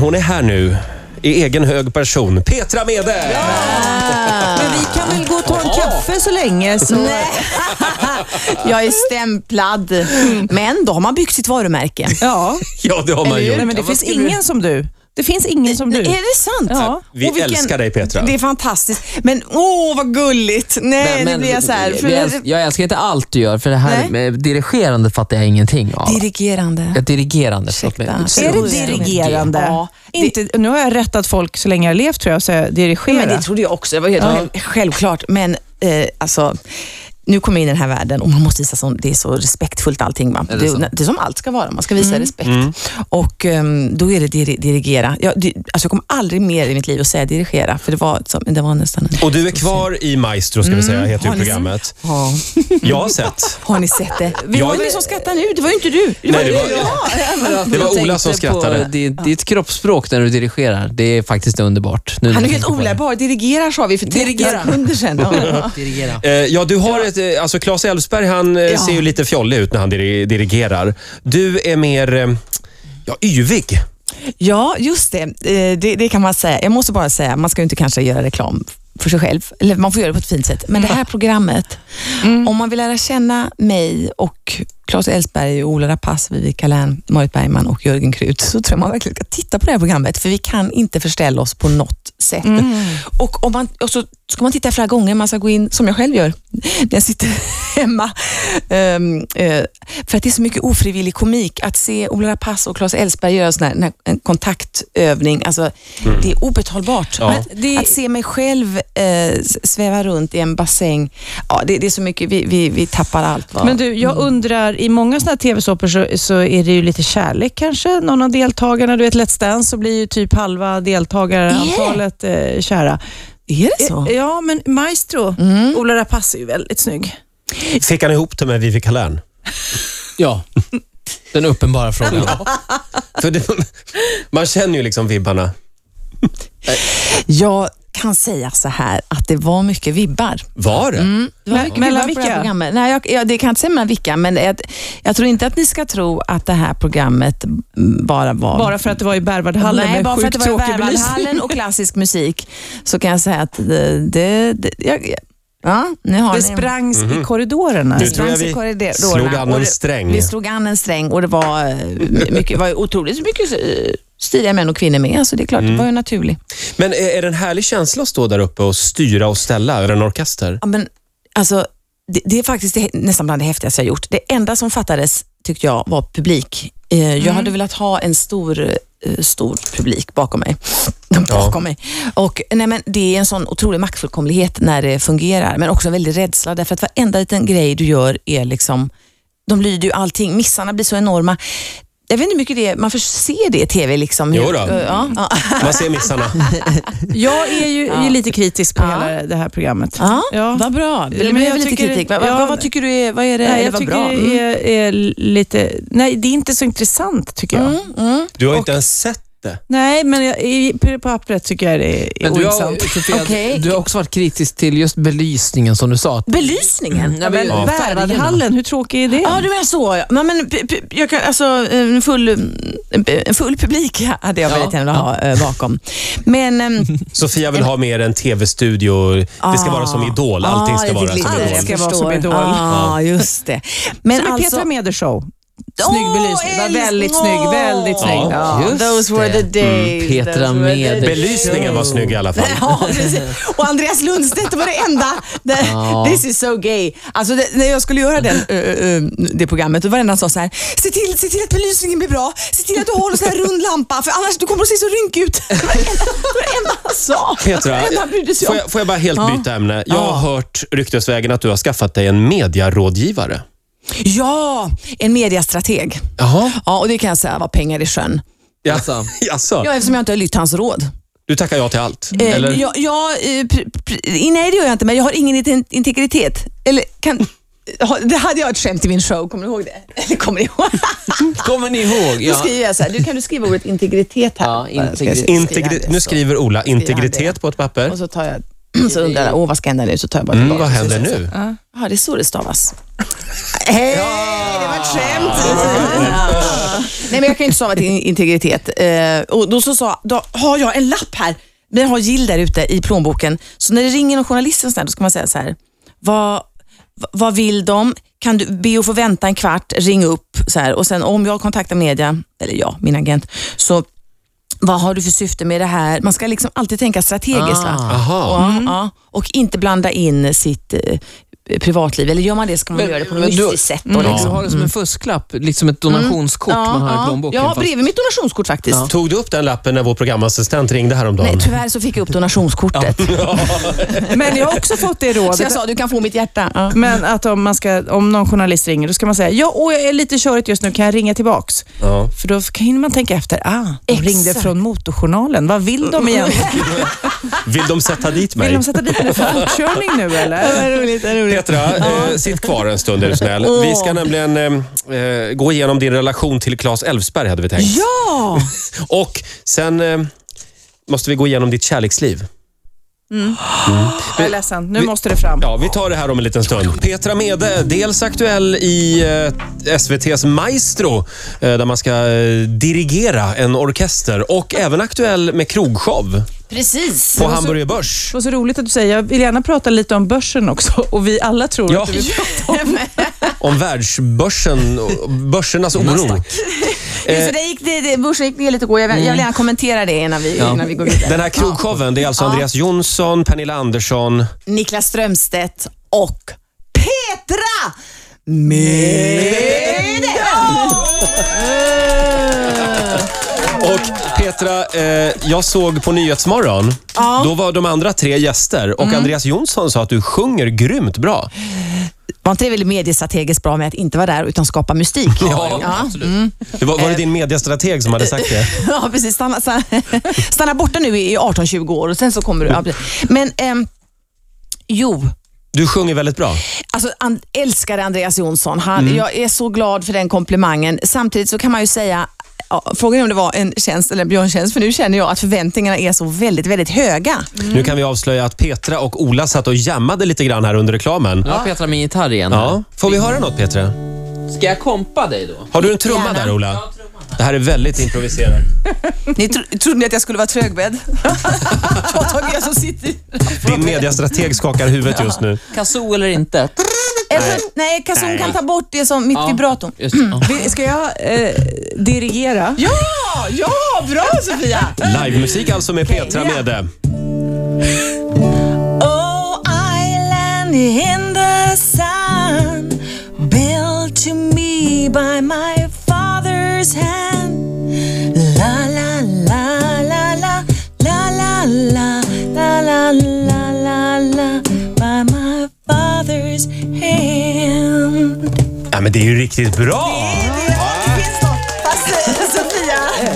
hon är här nu i egen hög person. Petra Mede! Men vi kan väl gå och ta en kaffe så länge så... Nej. Jag är stämplad. Men då har man byggt sitt varumärke. Ja. Ja, det har man gjort. Nej, men det finns ingen som du. Det finns ingen som du. Är det sant? Ja. Vi Och älskar dig, Petra. Det är fantastiskt. Men åh, vad gulligt. Nej, Men- men nu blir jag så här. vi- För, vi älsk- jag älskar inte allt du gör, för det här Nej. med dirigerande fattar jag ingenting av. Dirigerande. Ja, dirigerande. förlåt mig. Ursäkta. Är det Otroligt. dirigerande? Ja. Inte, nu har jag rättat folk så länge jag har levt tror jag, så jag dirigera. Men det trodde jag också. Det var helt självklart. Men eh, alltså, nu kommer jag in i den här världen och man måste visa som det är så respektfullt allting. Va? Är Det, det det, så? är som allt ska vara. Man ska visa respekt. Och ehm, då är det dir- dirigera. Jag, di- alltså, jag kommer aldrig mer i mitt liv att säga dirigera, för det var, som, det var nästan en... Och du är kvar i Maestro, ska vi säga, heter ju programmet. Ja. Jag har sett. Har ni sett det? Vi Ja, var ju det- med som skrattade nu. Det var ju inte du. Det Nej, det ju var- Det var Jag Ola tänkte som på skrattade. Ditt, ditt kroppsspråk när du dirigerar, det är faktiskt underbart. Nu när Han är jag helt tänker på det. olärbar. Dirigerar sa vi för 30 Mm. Dirigera. sekunder sedan. Ja. Dirigera. Eh, ja, du har ett... eh, Alltså, Claes Elfsberg, han eh, ser ju lite fjollig ut när han diri- dirigerar. Du är mer... eh, Ja, yvig. Ja, just det. Eh, det. Det kan man säga. Jag måste bara säga, man ska ju inte kanske göra reklam för sig själv. Eller man får göra det på ett fint sätt. Men det här programmet, om man vill lära känna mig och Claes Elfsberg, och Ola Rapace, Vivica Lern, Marit Bergman och Jörgen Krut så tror jag man verkligen ska titta på det här programmet för vi kan inte förställa oss på något sätt. Mm. Och, om man, och så ska man titta flera gånger, man ska gå in, som jag själv gör, när jag sitter hemma. Ehm, eh, för att det är så mycket ofrivillig komik. Att se Ola Rapace och Claes Elfsberg göra en sån här, den här, en kontaktövning, alltså, det är obetalbart. Ja. Att, att se mig själv eh, s- sväva runt i en bassäng, ja, det, det är så mycket, vi, vi, vi tappar allt. Va? Men du, jag Mm. undrar, i många sådana här tv-såpor så, så är det ju lite kärlek kanske, någon av deltagarna. Du vet Let's Dance så blir ju typ halva deltagarantalet eh, kära. är det så? Mm. Eh, Ja, men Maestro, Ola Rapace är ju väldigt snygg. Fick han ihop det med Vivica Lern? Ja, den uppenbara frågan. För det, man känner ju liksom vibbarna. Jag kan säga så här att det var mycket vibbar. Var det? Det var Men- mycket vibbar på det här mellan vilka? programmet. Nej, jag, jag, det kan jag inte säga mellan vilka, men jag, jag tror inte att ni ska tro att det här programmet mm, bara var... Bara för att det var i Berwaldhallen Nej, med bara för att sjukt det var i tråkig belysning. Berwaldhallen och klassisk musik så kan jag säga att det... det, det jag, ja, nu har Det ni... sprangs i Mhm. korridorerna. Nu Det tror jag sprangs i vi korridorerna slog an och en det- sträng. Vi slog an en sträng och det var, eh, mycket, var ju otroligt mycket eh, stiliga män och kvinnor med, så det är klart, det var ju naturligt. Men eh, är, är det en härlig känsla att stå där uppe och styra och ställa över en orkester? Ja, men, alltså, det, det är faktiskt det, nästan bland det häftigaste jag gjort. Det enda som fattades, tyckte jag, var publik. Eh, jag hade velat ha en stor, eh, stor publik bakom mig. bakom mig. Och, nej, men det är en sån otrolig maktfullkomlighet när det fungerar, men också en väldig rädsla, därför att varenda liten grej du gör är liksom, de lyder ju allting. Missarna blir så enorma. Jag vet inte hur mycket det är, man får se det i TV. Liksom, hur- Jo då. Ja, ja. Man ser missarna. Jag är ju, ju lite kritisk på hela det här programmet. Ja, Ja. Vad bra. Ja, Du men jag behöver lite tycker- kritik. Vad, vad- ja. vad, vad tycker du är, vad är det, Nej, eller jag vad tycker bra? Mm. det är, är lite... Nej, det är inte så intressant tycker jag. Mm. Du har inte ens sett det. Nej, men jag, i, på pappret tycker jag det är Men du, ointressant. har, Sofia, Okej. du har också varit kritisk till just belysningen som du sa. att- Belysningen? Ja, men- Ja. Berwaldhallen, hur tråkig är det? Mm. Ja, du menar så. ja. Nej, men, pu- pu- jag kan, alltså, en, full, en full publik hade jag Ja. väldigt gärna velat ha eh, bakom. Men ehm, Sofia vill ha mer en tv-studio. Det ska vara som Idol. Allting ska ah, vara som lite glitter, Idol. jag Allt ska vara förstår. som Idol. Ah, just det. Men Som i alltså, Petra Meders show. Snygg Åh, belysning. Var älsk- väldigt åh. snygg. Väldigt snygg. Ja. Mm. Ja. Just Those were det. the days. Petra those were the Mede. days. Belysningen var snygg i alla fall. Ja, precis. och Andreas Lundstedt det var det enda. Det, Ja. This is so gay. Alltså det, när jag skulle göra den, eh, eh, det programmet, då var det en som sa så här, se till, se till att belysningen blir bra. Se till att du håller så här rund lampa, för annars du kommer att se så rynkig ut. Det var det enda- det var det enda han sa. Petra, det enda han brydde sig får om. jag, får jag bara helt byta ämne? Jag har hört ryktesvägen att du har skaffat dig en mediarådgivare. Ja, en mediastrateg. Jaha. Ja, och det kan jag säga var pengar i sjön. Ja. Alltså. Jaså? Ja, eftersom jag inte har lytt hans råd. Du tackar ja till allt? Eh, Eller? Jag, jag, eh, pr- pr- nej, det gör jag inte, men jag har ingen inte- integritet. Eller kan... eh, ha- Det hade jag ett skämt i min show, kommer du ihåg det? Eller kommer ni ihåg? Kommer ni ihåg? Då Ja. skriver jag så här, du kan du skriva ordet integritet här? Ja, Bara, ska jag integritet. skriva Integri- det nu så? skriver Ola han integritet det. på ett papper. Och så tar jag så undrar alla, åh vad ska hända nu? Så tar jag bara Mm, vad tillbaka och så händer säger jag nu? så här, Ja, det är så det stavas. Hej, det var ett skämt. Nej, men jag kan ju inte stava till in- integritet. Eh, och då så sa, då har jag en lapp här. Men jag har Jill där ute i plånboken. Så när det ringer någon journalist, och sånt där, då ska man säga så här. Vad, v- vad vill de? Kan du be att få vänta en kvart? Ring upp. Så här. Och sen om jag kontaktar media, eller jag, min agent, så vad har du för syfte med det här? Man ska liksom alltid tänka strategiskt. va? Ah. Aha. Ja, Mm. ja. Och inte blanda in sitt eh, privatliv. Eller gör man det ska man Men- göra det på men något du- mysigt sätt. Och Du liksom. har det som en fusklapp, liksom ett donationskort Mm. man har i plånboken. Jag har fast- bredvid mitt donationskort faktiskt. Tog du upp den lappen när vår programassistent ringde häromdagen? Nej, tyvärr så fick jag upp donationskortet. Men jag har också fått det rådet. Så jag sa, du kan få mitt hjärta. Ja. Men att om, man ska, om någon journalist ringer, då ska man säga, ja, åh, jag är lite körigt just nu, kan jag ringa tillbaks? ja. För då kan- hinner man tänka efter, ah, de Exakt. ringde från Motorjournalen, vad vill de egentligen? Vill de sätta dit mig? Vill de sätta dit mig för fortkörning nu eller? roligt, roligt. Petra, eh, sitt kvar en stund är du snäll. Vi ska nämligen eh, eh, gå igenom din relation till Claes Elfsberg hade vi tänkt. Ja! Och sen eh, måste vi gå igenom ditt kärleksliv. Jag är ledsen, nu måste det fram. Ja, vi tar det här om en liten stund. Petra Mede, dels aktuell i eh, SVTs Maestro eh, där man ska eh, dirigera en orkester och även aktuell med krogshow Precis. på Hamburger Börs. Det var så roligt att du säger, jag vill gärna prata lite om börsen också och vi alla tror Ja. att du vill Om världsbörsen, och börsernas oro. Eh. Så det gick, det, det, börsen gick ner lite igår. Jag vill, jag vill gärna kommentera det innan vi, innan vi går vidare. Den här krogshowen, det är alltså Andreas Jonsson, Pernilla Andersson. Niklas Strömstedt och Petra med... Och Petra, eh, jag såg på Nyhetsmorgon, då var de andra tre gäster och Andreas Jonsson sa att du sjunger grymt bra. Var inte det väl mediestrategiskt bra med att inte vara där utan skapa mystik? ja. Det var, var det din mediastrateg som hade sagt det? Ja, precis. Stanna, stanna, stanna borta nu i 18-20 år och sen så kommer du. Ja, precis. Men ehm, jo, Du sjunger väldigt bra. alltså an, älskade Andreas Jonsson. Han, Jag är så glad för den komplimangen. Samtidigt så kan man ju säga Ja, frågan är om det var en tjänst eller en björntjänst, för nu känner jag att förväntningarna är så väldigt, väldigt höga. Nu kan vi avslöja att Petra och Ola satt och jammade lite grann här under reklamen. Nu har Petra min gitarr igen. Ja, får vi höra något Petra? Ska jag kompa dig då? Har du en trumma Gärna. där Ola? Det här är väldigt improviserat. Ni tro, trodde ni att jag skulle vara trögbädd? jag, tog, jag som sitter i- Din mediastrateg skakar huvudet just nu. Kazoo eller inte? Eller, nej, Kazon kan ta bort det som mitt vibrato. Just, ja. Vi- Ska jag eh, dirigera? Ja, ja, bra Sofia! Livemusik alltså med Petra Mede. Oh, island in the sun, built to me by my father's hand. La la la la la la la la la la la la la by my father's hand. Ja, men det är ju riktigt bra!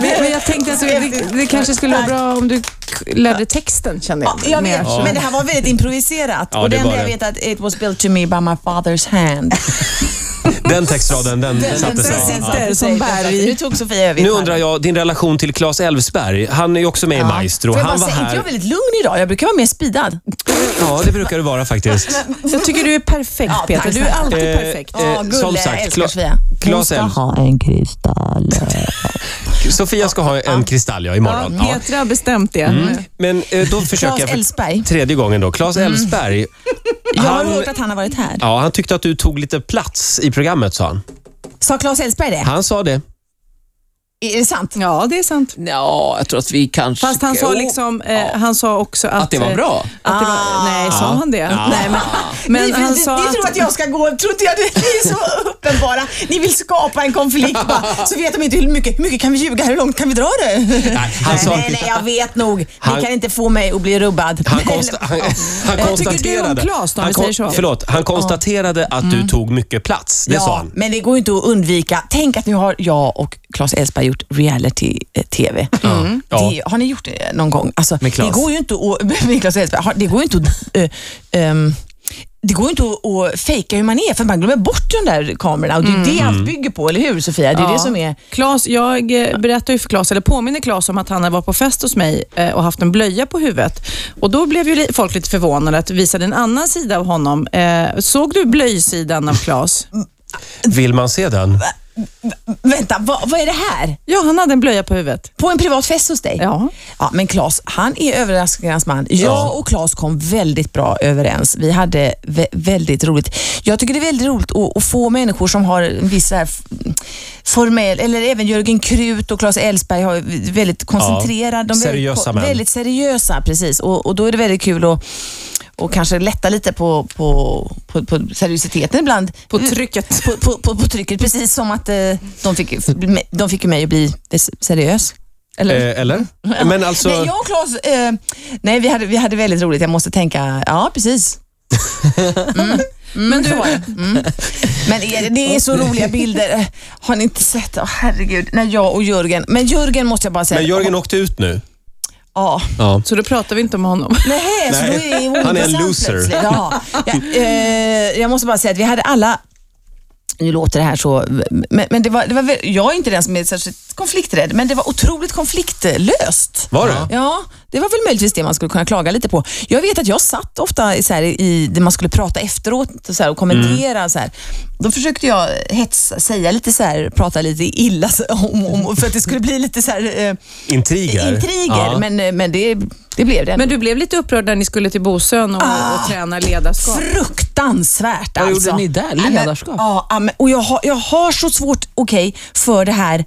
Men, men jag tänkte att det, det kanske skulle vara bra om du k- lärde texten kände jag. Jag Mer vet, så. men det här var väldigt improviserat. Ja, och det det enda var jag det. vet är att it was built to me by my father's hand. Den textraden, den satte sig. precis. Ja. Ja. Som berg. Nu tog Sofia över. Nu undrar jag, din relation till Claes Elfsberg. Han är ju också med i Maestro. Får jag Han var bara säga, inte här. jag väldigt lugn idag? Jag brukar vara mer speedad. Ja, det brukar du vara faktiskt. Jag tycker du är perfekt Ja, Peter. tack Du är snälla. alltid Eh, perfekt. eh, Ja, gulle, som sagt, älskar Cla- Sofia. Claes Elf- ha en kristall. Sofia ska ha en kristall ja, Ja, imorgon. Ja. Petra har bestämt det. Mm. Men eh, då försöker jag Claes för Elfsberg. tredje gången då. Claes Elfsberg, Jag har han, hört att han har varit här. ja, han tyckte att du tog lite plats i programmet sa han. Sa Claes Elfsberg det? Han sa det. Är det sant? Ja, det är sant. Ja, jag tror att vi kanske... Fast han oh. sa, Jo, liksom, eh, han sa också att... eh, Att eh, det var bra. Att det var, nej, sa han det? Ah. Nej, men men ni, han ni, sa ni tror att jag ska gå, tror inte jag det? Ni är så uppenbara. Ni vill skapa en konflikt bara, så vet de inte hur mycket, hur mycket kan vi ljuga, hur långt kan vi dra det? Nej, han sa- nej, nej, jag vet nog. Han- Ni kan inte få mig att bli rubbad. Han, konsta, han, han tycker konstaterade... du om Claes då, om han, vi säger så? Förlåt, han konstaterade att du tog mycket plats. Det sa han. men det går ju inte att undvika. Tänk att nu har jag och Claes Elfsberg gjort reality-tv. Mm. Ja. Det, har ni gjort det någon gång? Alltså, Med Claes. Det går ju inte att, med Claes Elfsberg, har- det går ju inte att eh, ehm, det går ju inte att, att fejka hur man är, för man glömmer bort de där kamerorna. Och det är Mm. ju det allt bygger på, eller hur Sofia? Det är Ja. det som är... Claes, jag eh, berättar ju för Claes, eller påminner Claes om att han var på fest hos mig eh, och haft en blöja på huvudet. Och då blev ju li- folk lite förvånade att vi visade en annan sida av honom. Eh, Såg du blöjsidan av Claes? Vill man se den? Vänta, vad, vad är det här? Ja, han hade en blöja på huvudet. På en privat fest hos dig? Ja. Ja, men Claes, han är överraskningens man. Jag och Claes kom väldigt bra överens. Vi hade vä- väldigt roligt. Jag tycker det är väldigt roligt att, att få människor som har en viss så här f- formell, eller även Jörgen Krut och Claes Elfsberg har väldigt koncentrerade, de är seriösa väldigt, ko- män. väldigt seriösa. Precis, och, och då är det väldigt kul att och kanske lätta lite på, på, på, på seriositeten ibland. På trycket. På, på, på, på trycket, precis som att eh, de fick, de fick ju mig att bli seriös. Eller? Eh, eller? Men alltså... Nej, jag och Claes, eh, nej vi hade, vi hade väldigt roligt. Jag måste tänka, ja precis. Mm. Men du, Men är, det är så roliga bilder. Eh, Har ni inte sett? Åh herregud. Nej, jag och Jörgen. Men Jörgen måste jag bara säga. Men Jörgen åkte ut nu. Ja. Ja. så då pratar vi inte om honom. Nej, så då är det Han är en ointressant loser. plötsligt. Ja. Ja, eh, jag måste bara säga att vi hade alla nu låter det här så, men, men det var, det var, väl- jag är inte den som är särskilt konflikträdd, men det var otroligt konfliktlöst. Var det? Ja, det var väl möjligtvis det man skulle kunna klaga lite på. Jag vet att jag satt ofta i, så här, i det man skulle prata efteråt och, så här, och kommentera. Så här. Då försökte jag hetsa, säga lite så här, prata lite illa så- om, om, för att det skulle bli lite så här, eh, Intriger. intriger, Ja. men, eh, men det, det blev det. Men du blev lite upprörd när ni skulle till Bosön och, och träna ledarskap. Fruktansvärt Vad alltså. gjorde ni där? Ja, men- Ledarskap? Ja, ja, men, och jag har, jag har så svårt, okej, för det här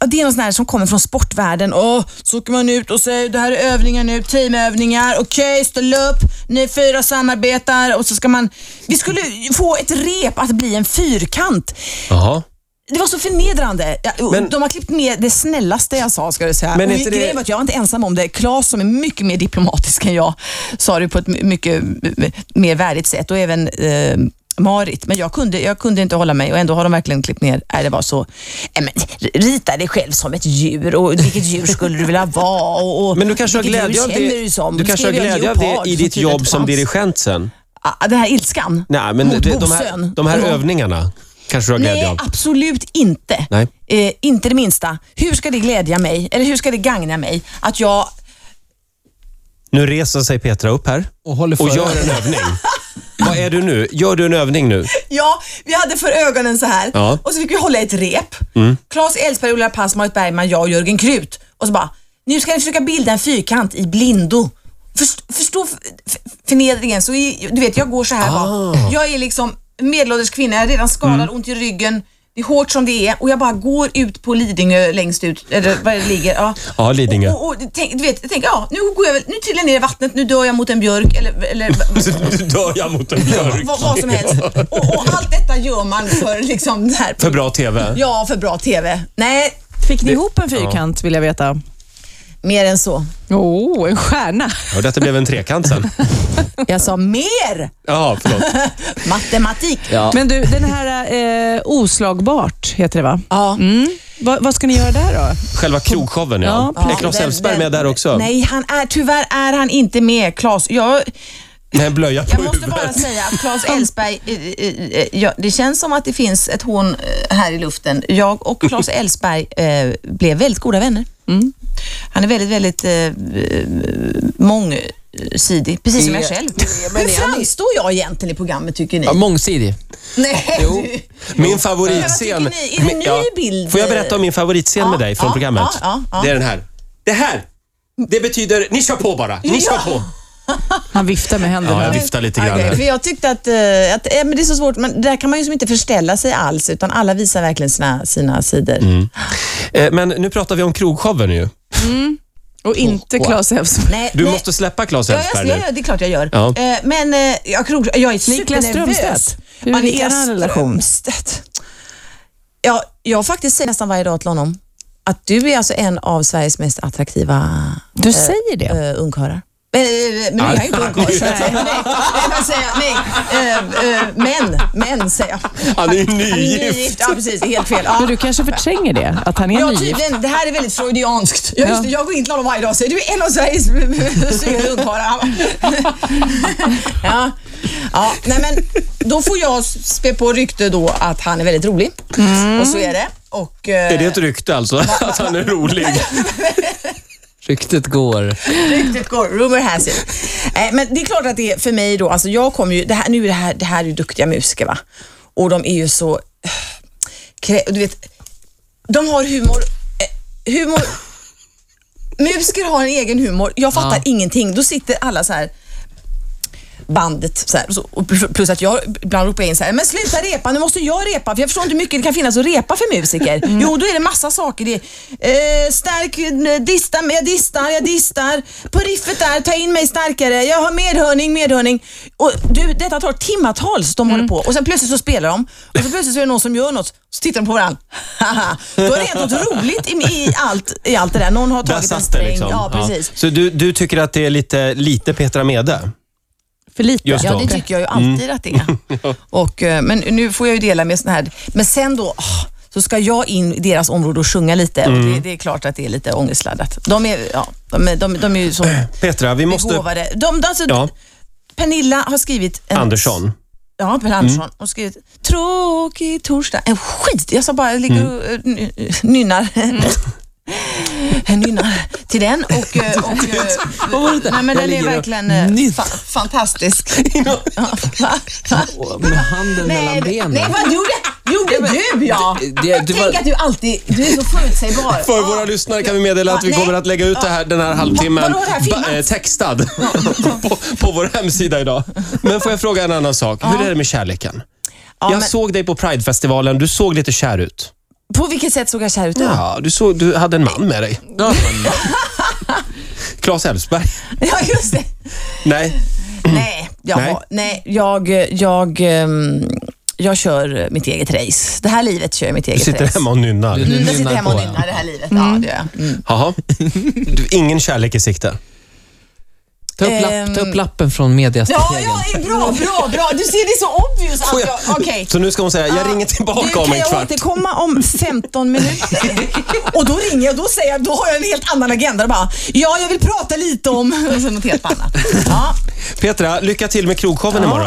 Ja, det är någon sån här som kommer från sportvärlden. Åh, så åker man ut och säger det här är övningar nu, teamövningar. Okej, ställ upp. Ni fyra samarbetar och så ska man... Vi skulle få ett rep att bli en fyrkant. Jaha. Det var så förnedrande. Ja, och Men- De har klippt ner det snällaste jag sa, ska du säga. Men Men är och inte grejen det- var att jag var inte ensam om det. Claes som är mycket mer diplomatisk än jag, sa det på ett my- mycket m- mer värdigt sätt och även eh, Marit. Men jag kunde, jag kunde inte hålla mig och ändå har de verkligen klippt ner. Nej, det var så... Nej, men, rita dig själv som ett djur och vilket djur skulle du vilja vara? Och, och, Men du kanske har vilket djur glädje av känner du det, som? du kanske har Skrev jag en glädje av det leopard i som ditt tydligt jobb som fanns? dirigent sen? Ah, Den här ilskan Nej, men mot det, de här, Bosön. de här Ja. övningarna kanske du har glädje Nej, ah. av? absolut inte. Nej. Eh, inte det minsta. Hur ska det glädja mig, eller hur ska det gagna mig att jag... Nu reser sig Petra upp här Och håller för och gör en övning. Vad är du nu? Gör du en övning nu? Ja, vi hade för ögonen så här Ja. Mm. och så fick vi hålla ett rep. Claes Elfsberg, Ola Pass, Marit Bergman, jag och Jörgen Krut. Och så bara, nu ska ni försöka bilda en fyrkant i blindo. Först, förstå f- f- förnedringen. Så i, du vet, jag går så här Ah. bara. Jag är liksom medelålders kvinna, jag är redan skadad, Mm. ont i ryggen. Det är hårt som det är och jag bara går ut på Lidingö längst ut, eller var det ligger. Ja, Ja, Lidingö. Och, och, och, tänk, du vet, jag tänker, ja, nu går jag väl, nu trillar jag ner i vattnet, nu dör jag mot en björk eller, eller Nu dör jag mot en vad, vad som helst. Och, och allt detta gör man för liksom det här. För bra TV. Ja, för bra TV. Nej, Fick ni ihop en fyrkant vill jag veta? mer än så. Oh, en stjärna. Ja, detta blev en trekant sen. Jag sa mer Ja, förlåt. matematik. Ja. Men du, den här eh, Oslagbart heter det va? Mm. Ja. Va, vad ska ni göra där då? Själva krogshowen, ja. Ja, Är Claes Den- Elfsberg med den- där också? Nej, han är, tyvärr är han inte med. Claes, jag, Med en blöja på jag måste bara huvudet. säga att Claes Elfsberg, eh, eh, eh, ja, det känns som att det finns ett hån eh, här i luften. Jag och Claes Elfsberg eh, blev väldigt goda vänner. Mm. Han är väldigt, väldigt eh, eh, mångsidig, precis som jag själv. Hur framstår jag egentligen i programmet tycker ni? Ja, mångsidig. Nej, Jo. du. Min Men favoritscen. vad tycker ni? Är det en ny bild? Får jag berätta om min favoritscen Ja, med dig från ja, programmet? ja, ja, ja. Det är den här. Det här! Det betyder, ni kör på bara. Ni kör på. Han viftar med händerna. Ja, jag viftar lite grann Okej, för här. jag tyckte att, eh, att eh, men det är så svårt, men där kan man ju som inte förställa sig alls, utan alla visar verkligen sina, sina sidor. Eh, Men nu pratar vi om krogshowen ju. Och inte Claes Elfsborg. Nej, Du nej. måste släppa Claes Ja, Elfsberg jag, nu. jag, det är klart jag gör. Ja. Eh, Men eh, jag, tror- jag är Niklas Strömstedt. supernervös. Hur är er relation? Strömstedt. Ja, jag har faktiskt säger nästan varje dag till honom att du är alltså en av Sveriges mest attraktiva Du säger det? uh, ungkarlar. Men, eh, men nu är jag ju inte ungkarl. så att- Nej, nej, jag säger, nej. eh, eh, män, män säger jag. Han är ju Han är nygift. nygift. Ja, precis. Helt fel. Ja. Men du kanske förtränger det, att han är Ja, nygift. tydligen. Det här är väldigt freudianskt. Ja, just det, jag går in till honom varje dag och säger du är en av Sveriges snyggaste ungkarlar. ja. Ja, nej men, då får jag spä på rykte då att han är väldigt rolig. Och så är det. Och, eh, Är det ett rykte alltså? Att han är rolig? Ryktet går. Ryktet går, rumor has it. Eh, men det är klart att det är för mig då, alltså jag kommer ju, det här, nu är det här, det här är ju duktiga musiker va. Och de är ju så, eh, krä, du vet, de har humor, eh, humor, musiker har en egen humor. Jag fattar Ja. ingenting. Då sitter alla så här bandet så här, och så, och plus att jag ibland ropar in så här, men sluta repa, nu måste jag repa för jag förstår inte hur mycket det kan finnas att repa för musiker. Jo, då är det massa saker. Det är, eh, stark, eh, dista, jag distar, jag distar. På riffet där, ta in mig starkare. Jag har medhörning, medhörning. Och du, detta tar timmatals de håller på och sen plötsligt så spelar de och så plötsligt så är det någon som gör något så tittar de på varandra. Haha. då är det helt något roligt i, i, allt, i allt det där. Någon har Där tagit en satt det sträng. liksom. Ja, precis. Så du, du tycker att det är lite, lite Petra Mede? För lite. Just Ja, då. det tycker jag ju alltid Mm. att det är. och, eh, men nu får jag ju dela med sån här... Men sen då, ah, så ska jag in i deras område och sjunga lite. Mm. Och det, det är klart att det är lite ångestladdat. De är, ja, de, är- de, de är ju så Petra, vi Äh, måste... begåvade. De, alltså, Ja, Pernilla har skrivit... En, Andersson. Ja, Mm. Pernilla Andersson. Hon har skrivit “Tråkig torsdag”. En skit! Jag sa bara, jag ligger och Mm. eh, ny- nynnar. Jag nynnar till den och... eh, och, och nej, men den är ligger och verkligen eh, fa fantastisk. Ja, va? Va? Med handen mellan det- benen. Nej, vad gjorde, gjorde du ja? Det- det- du Tänk var- att du alltid, du är så förutsägbar. För Ja. våra lyssnare kan vi meddela att vi Ja, nej. kommer att lägga ut det här, den här Va- halvtimmen vadå, det här filmat? ba- eh, textad på, på vår hemsida idag. Men får jag fråga en annan sak? Hur är det med kärleken? Ja, jag men såg dig på Pridefestivalen. Du såg lite kär ut. På vilket sätt såg jag kär ut då? Ja, du, såg, du hade en man med dig. Ja, Claes Elfsberg. Ja, just det. Nej, Nej, jag, Mm. Nej. nej. jag, jag, ehm, jag kör mitt eget race. Det här livet kör jag mitt du eget sitter race. hemma och nynnar. Du- Mm, jag sitter nynnar hemma och på, ja. nynnar det här livet. Ja, det gör jag. Mm. Jaha. Du, ingen kärlek i sikte. Ta upp, lapp, ta upp lappen från Ja, mediastrategen. ja, bra, bra, bra. Du ser, det är så obvious att Får jag- jag... Okej. Så nu ska hon säga, jag ringer Du tillbaka kan om en jag kvart. återkomma om 15 minuter. och då ringer jag och då säger jag, då har jag en helt annan agenda. Och bara, ja, jag vill prata lite om... Och så något helt annat. Ja. Petra, lycka till med krogshowen imorgon.